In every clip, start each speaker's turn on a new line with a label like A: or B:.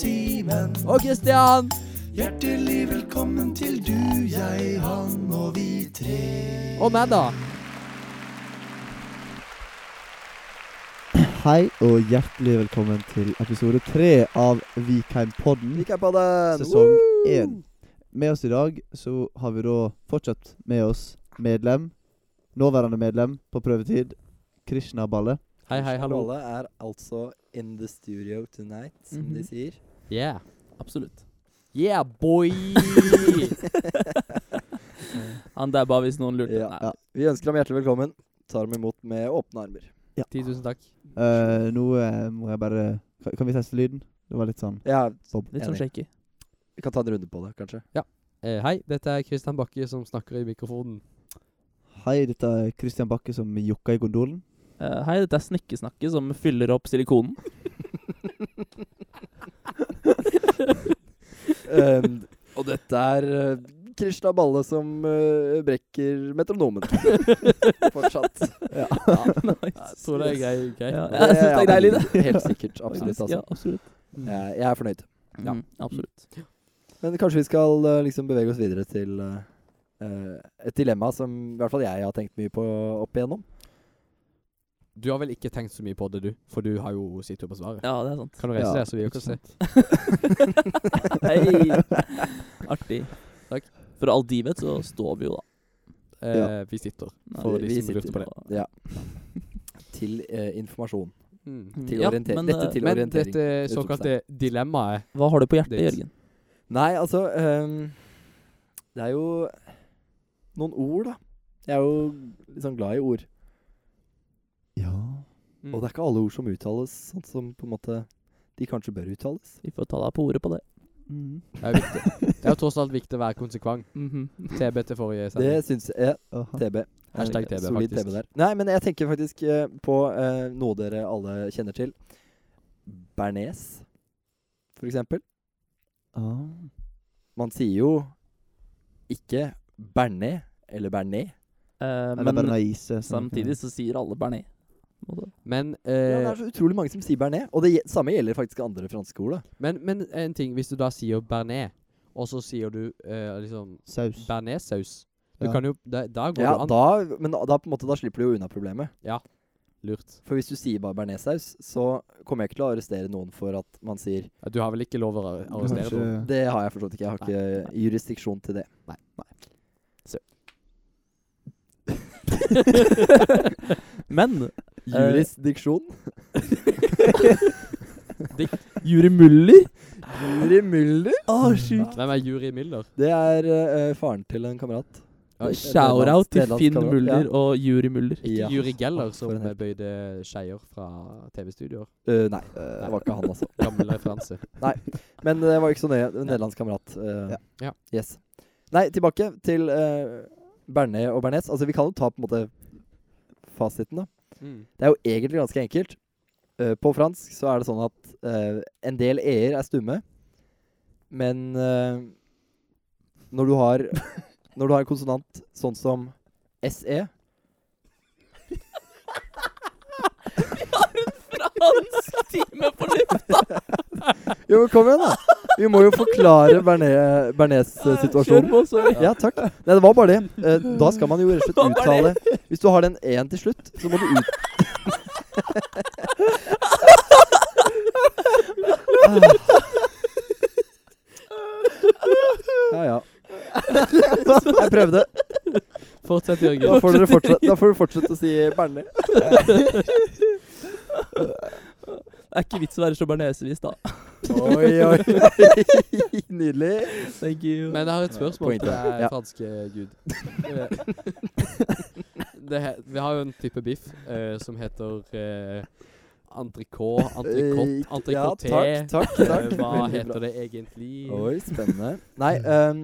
A: Morten.
B: Og Kristian.
A: Hjertelig velkommen til du, jeg, han og vi tre.
B: Og meg, da.
C: Hei og hjertelig velkommen til episode tre av Vikheimpodden,
A: Vikingpodden!
C: sesong én. Med oss i dag så har vi da fortsatt med oss medlem, nåværende medlem på prøvetid, Krishna Balle.
B: Hei, hei, hallo.
A: Alle er altså in the studio tonight, som de
B: Mhm.
A: sier.
B: Yeah.
D: Absolutt.
B: Yeah, boy!
D: Han der bare hvis noen lurte.
A: Ja.
D: Nei.
C: Ja.
A: Vi ønsker ham hjertelig velkommen. Tar ham imot med åpne armer.
B: 10 000 takk.
C: Eh, nå eh, må jeg bare kan, kan vi teste lyden? Det var litt sånn
A: Ja,
D: Litt sånn shaky.
A: vi kan ta en runde på det, kanskje.
B: Eh, hei, dette er Kristian Bakke som snakker i mikrofonen.
C: Hei, dette er Kristian Bakke som jokka i gondolen.
D: Eh, hei, dette er snikkesnakket som fyller opp silikonen.
A: Ehm, og dette er eh, Krishna Balle som eh, brekker metronomen. Fortsatt.
B: Jeg tror det er grei, grei.
D: Ja, jeg synes det er deilig, det.
A: Helt sikkert. Absolutt.
D: Ja,
A: Altså.
D: absolutt.
A: Jeg, jeg er fornøyd.
B: Ja.
D: Mm, absolutt.
A: Men kanskje vi skal eh, liksom bevege oss videre til eh, eh, et dilemma som i hvert fall jeg har tenkt mye på opp igjennom.
B: Du har vel ikke tenkt så mye på det, du? For du har jo sitt tur på svaret.
D: Ja, det er sant.
B: Kan du reise
C: Ja,
B: deg, så vil jeg
C: ikke
B: ikke se.
D: Hei. Artig.
B: Takk.
D: For alt de vet, så står vi jo, da.
B: Eh,
C: Ja.
B: Vi sitter.
D: Nei,
B: For
A: vi-
B: de
A: vi
B: som lurte på det.
A: Ja. Til eh, informasjon.
B: Mm.
D: Mm,
A: Til
D: ja,
A: orientering.
D: men,
A: Dette
D: eh,
A: til
B: Men
A: orientering.
B: dette såkalte dilemmaet
D: Hva har du på hjertet,
B: Dates.
D: Jørgen?
A: Nei, altså ehm, Det er jo noen ord, da. Jeg er jo litt sånn glad i ord.
C: Ja
B: mm.
A: Og det er ikke alle ord som uttales sånn som på en måte de kanskje bør uttales.
D: Vi får ta deg på ordet på det.
C: mm.
B: Det er jo viktig. Det er jo tross alt viktig å være konsekvent.
D: Mhm.
B: TB til forrige
A: Det
B: sending.
A: syns jeg.
C: aha.
A: TB.
B: Hashtag
D: Eh,
B: TB,
A: Solid
B: faktisk.
A: TB der. Nei, men jeg tenker faktisk eh, på eh, noe dere alle kjenner til. Bernes, for eksempel.
C: Ah.
A: Man sier jo ikke Bernet eller Bernet.
D: Eh,
C: Eller
D: men
C: Bernaise. sånn.
D: samtidig så sier alle bearnés. på en måte.
B: Men,
A: Ja, det
B: eh,
A: er så utrolig mange som sier Bernet. Og det gje- samme gjelder faktisk andre franske ord. da.
B: men, men en ting, hvis du da sier bearnés, og så sier du eh, liksom
C: Saus.
B: bearnéssaus Du
C: Ja.
B: kan jo Da, da går
A: Ja,
B: det an.
A: da, men da, da, på en måte, da slipper du jo unna problemet.
B: Lurt.
A: For hvis du sier bare bearnéssaus, så kommer jeg ikke til å arrestere noen for at man sier
B: Ja, Du har vel ikke lov å ar- arrestere
C: Kanskje-
B: noen?
A: Det har jeg forstått ikke. Jeg har ikke jurisdiksjon til det.
B: Nei.
D: Men
A: Eh, Jurisdiksjon?
D: Juri Muller
A: Juri Müller?
D: Å, sjukt.
B: Hvem er Juri Miller?
A: Det er eh, faren til en kamerat.
D: Ja,
A: Et
D: Shout-out
A: nederlandsk-
D: til
A: nederlandsk
D: Finn
A: kamerat,
D: Muller
A: ja.
D: og Juri Muller.
B: Ikke
A: Ja.
B: Juri Geller
A: Å,
B: som
A: for en helt-
B: bøyde skeier fra TV-studioer.
A: Eh, nei, det var ikke han, altså.
B: Gammel referanse.
A: Men eh, det var ikke så nøye. En nederlandsk kamerat. eh,
B: Ja.
A: Yes. Nei, tilbake til uh, Bernet og Bernes. Altså, vi kan jo ta på en måte fasiten, da.
B: Mm.
A: Det er jo egentlig ganske enkelt. Eh, på fransk så er det sånn at eh, en del e-er er stumme, men eh, når du har Når du har en konsonant sånn som se
D: Fransktimen på lufta!
A: Jo, men kom igjen, da! Vi må jo forklare eh, Bernet-
D: Kjør
A: Bernes-situasjonen.
D: på, sorry.
A: Ja, takk. Nei, det var bare det. Eh, da skal man jo rett og slett uttale Hvis du har den e-en til slutt, så må du ut... Ja, ja. Jeg prøvde.
B: Fortsett,
A: Da
B: Jørgen.
A: får, dere fortsette, da får du fortsette å si Berner.
D: Det er ikke vits å være så bearnésevis, da.
A: Oi, oi, oi. Nydelig.
D: Thank you.
B: Men jeg har et spørsmål
A: Poeng
B: til
A: til.
B: deg,
A: Ja.
B: franske gud. Eh, det, he- vi har jo en type biff eh, som heter eh, entrecôte, entrecôte,
A: Eh, Ja,
B: entrecôte
A: takk, takk, takk.
B: Eh, Hva
A: Veldig bra.
B: heter det egentlig?
A: Oi, spennende. Nei, ehm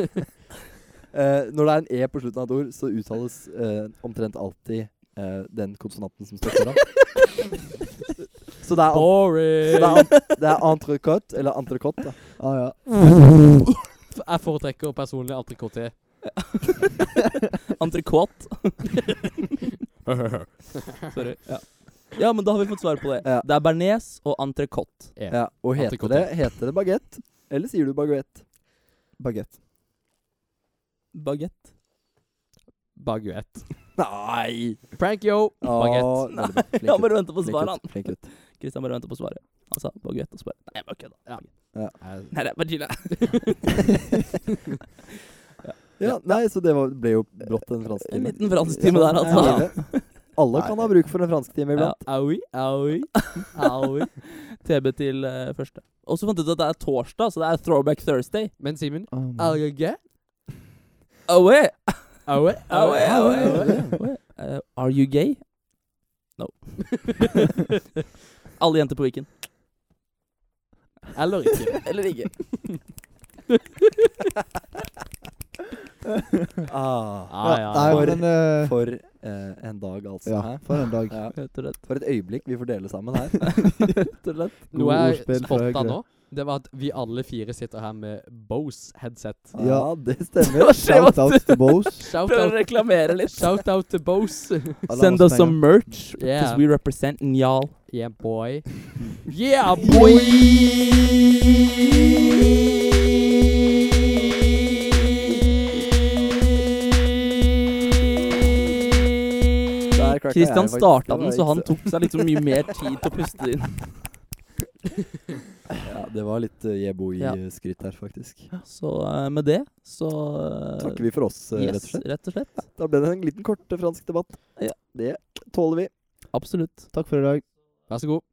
A: Eh, Når det er en E på slutten av et ord, så uttales eh, omtrent alltid eh, den konsonanten som står foran. så det er, an- så det
B: Boring!
A: er, an- det er entrecôte, eller entrecôte. da.
C: Ah, ja.
B: Jeg foretrekker personlig entrecôte.
D: Entrecôte. sorry. Ja. Ja, men da har vi fått svar på det.
A: Ja.
D: Det er bearnés og entrecôte.
B: Ja.
A: Ja, og heter
B: Antikott,
A: det, heter det baguette? Eller sier du baguette?
C: Bagett.
D: Bagett.
B: Baguett.
A: Nei!
B: Prank, yo!
A: Åh,
B: Baguett.
A: veldig bra. Flink
D: Han
A: gutt,
D: bare venter på
A: flink
D: svaret, han.
A: gutt, Flink gutt.
D: Kristian bare venter på svaret. Han sa baguett og spør. Nei, jeg bare kødda.
B: Eh,
D: Nei, det er bare chille.
A: Ja, nei, så det var, ble jo blått en fransk
D: En
A: time.
D: liten fransktime der, altså.
A: Ja, det- Alle kan ha bruk for en fransk time
D: Ja,
A: iblant.
D: aui, aui, aui. TB til eh, første. Og så fant jeg ut at det er torsdag, så det er throwback Thursday.
B: Men Simen
A: Ah,
C: Oh, man.
B: Alge?
D: Aue,
B: Aue?
D: aue, aue, aue,
A: aue.
D: aue. Eh, Are you gay? No. Alle jenter på Viken.
B: Eller ikke.
D: Eller ikke.
A: Ah,
C: Ja,
B: Ah, ja.
C: Nei,
A: For-
C: men eh,
A: for eh, en dag, altså.
C: Ja,
A: Hæ?
C: for en dag.
A: Ja.
D: Rett og slett.
A: For et øyeblikk vi får dele sammen her.
D: Rett og slett.
B: Noe jeg
C: ordspill fra
B: spotta
C: Høyre.
B: nå, det var at vi alle fire sitter her med Bose headset.
C: Ja.
A: Ja, det stemmer.
D: Hva skjer,
C: Shout
D: vet
C: out til Bose.
B: Shout
D: Prøver å
B: out,
D: reklamere litt.
B: shout out to Bose.
C: Alle
D: Send
C: har
D: us
C: masse
D: some merch, because
B: Yeah.
D: we represent y'all.
B: Yeah, boy. Yeah, boy!
A: Boy! Der cracka jeg
D: Kristian
A: faktisk.
D: starta
A: Det var
D: den, så
A: ikke
D: han tok seg liksom mye mer tid til å puste det inn.
A: Ja, det var litt uh,
D: Ja.
A: Jeboi-skryt her, faktisk.
D: Så eh, med det, så eh,
A: Takker vi for oss, uh,
D: yes,
A: rett og slett.
D: Rett og slett.
A: Da ble det en liten kort uh, eh, fransk debatt.
D: Ja.
A: Det tåler vi.
D: Absolutt.
C: penger. Takk for i dag.
B: Vær så god.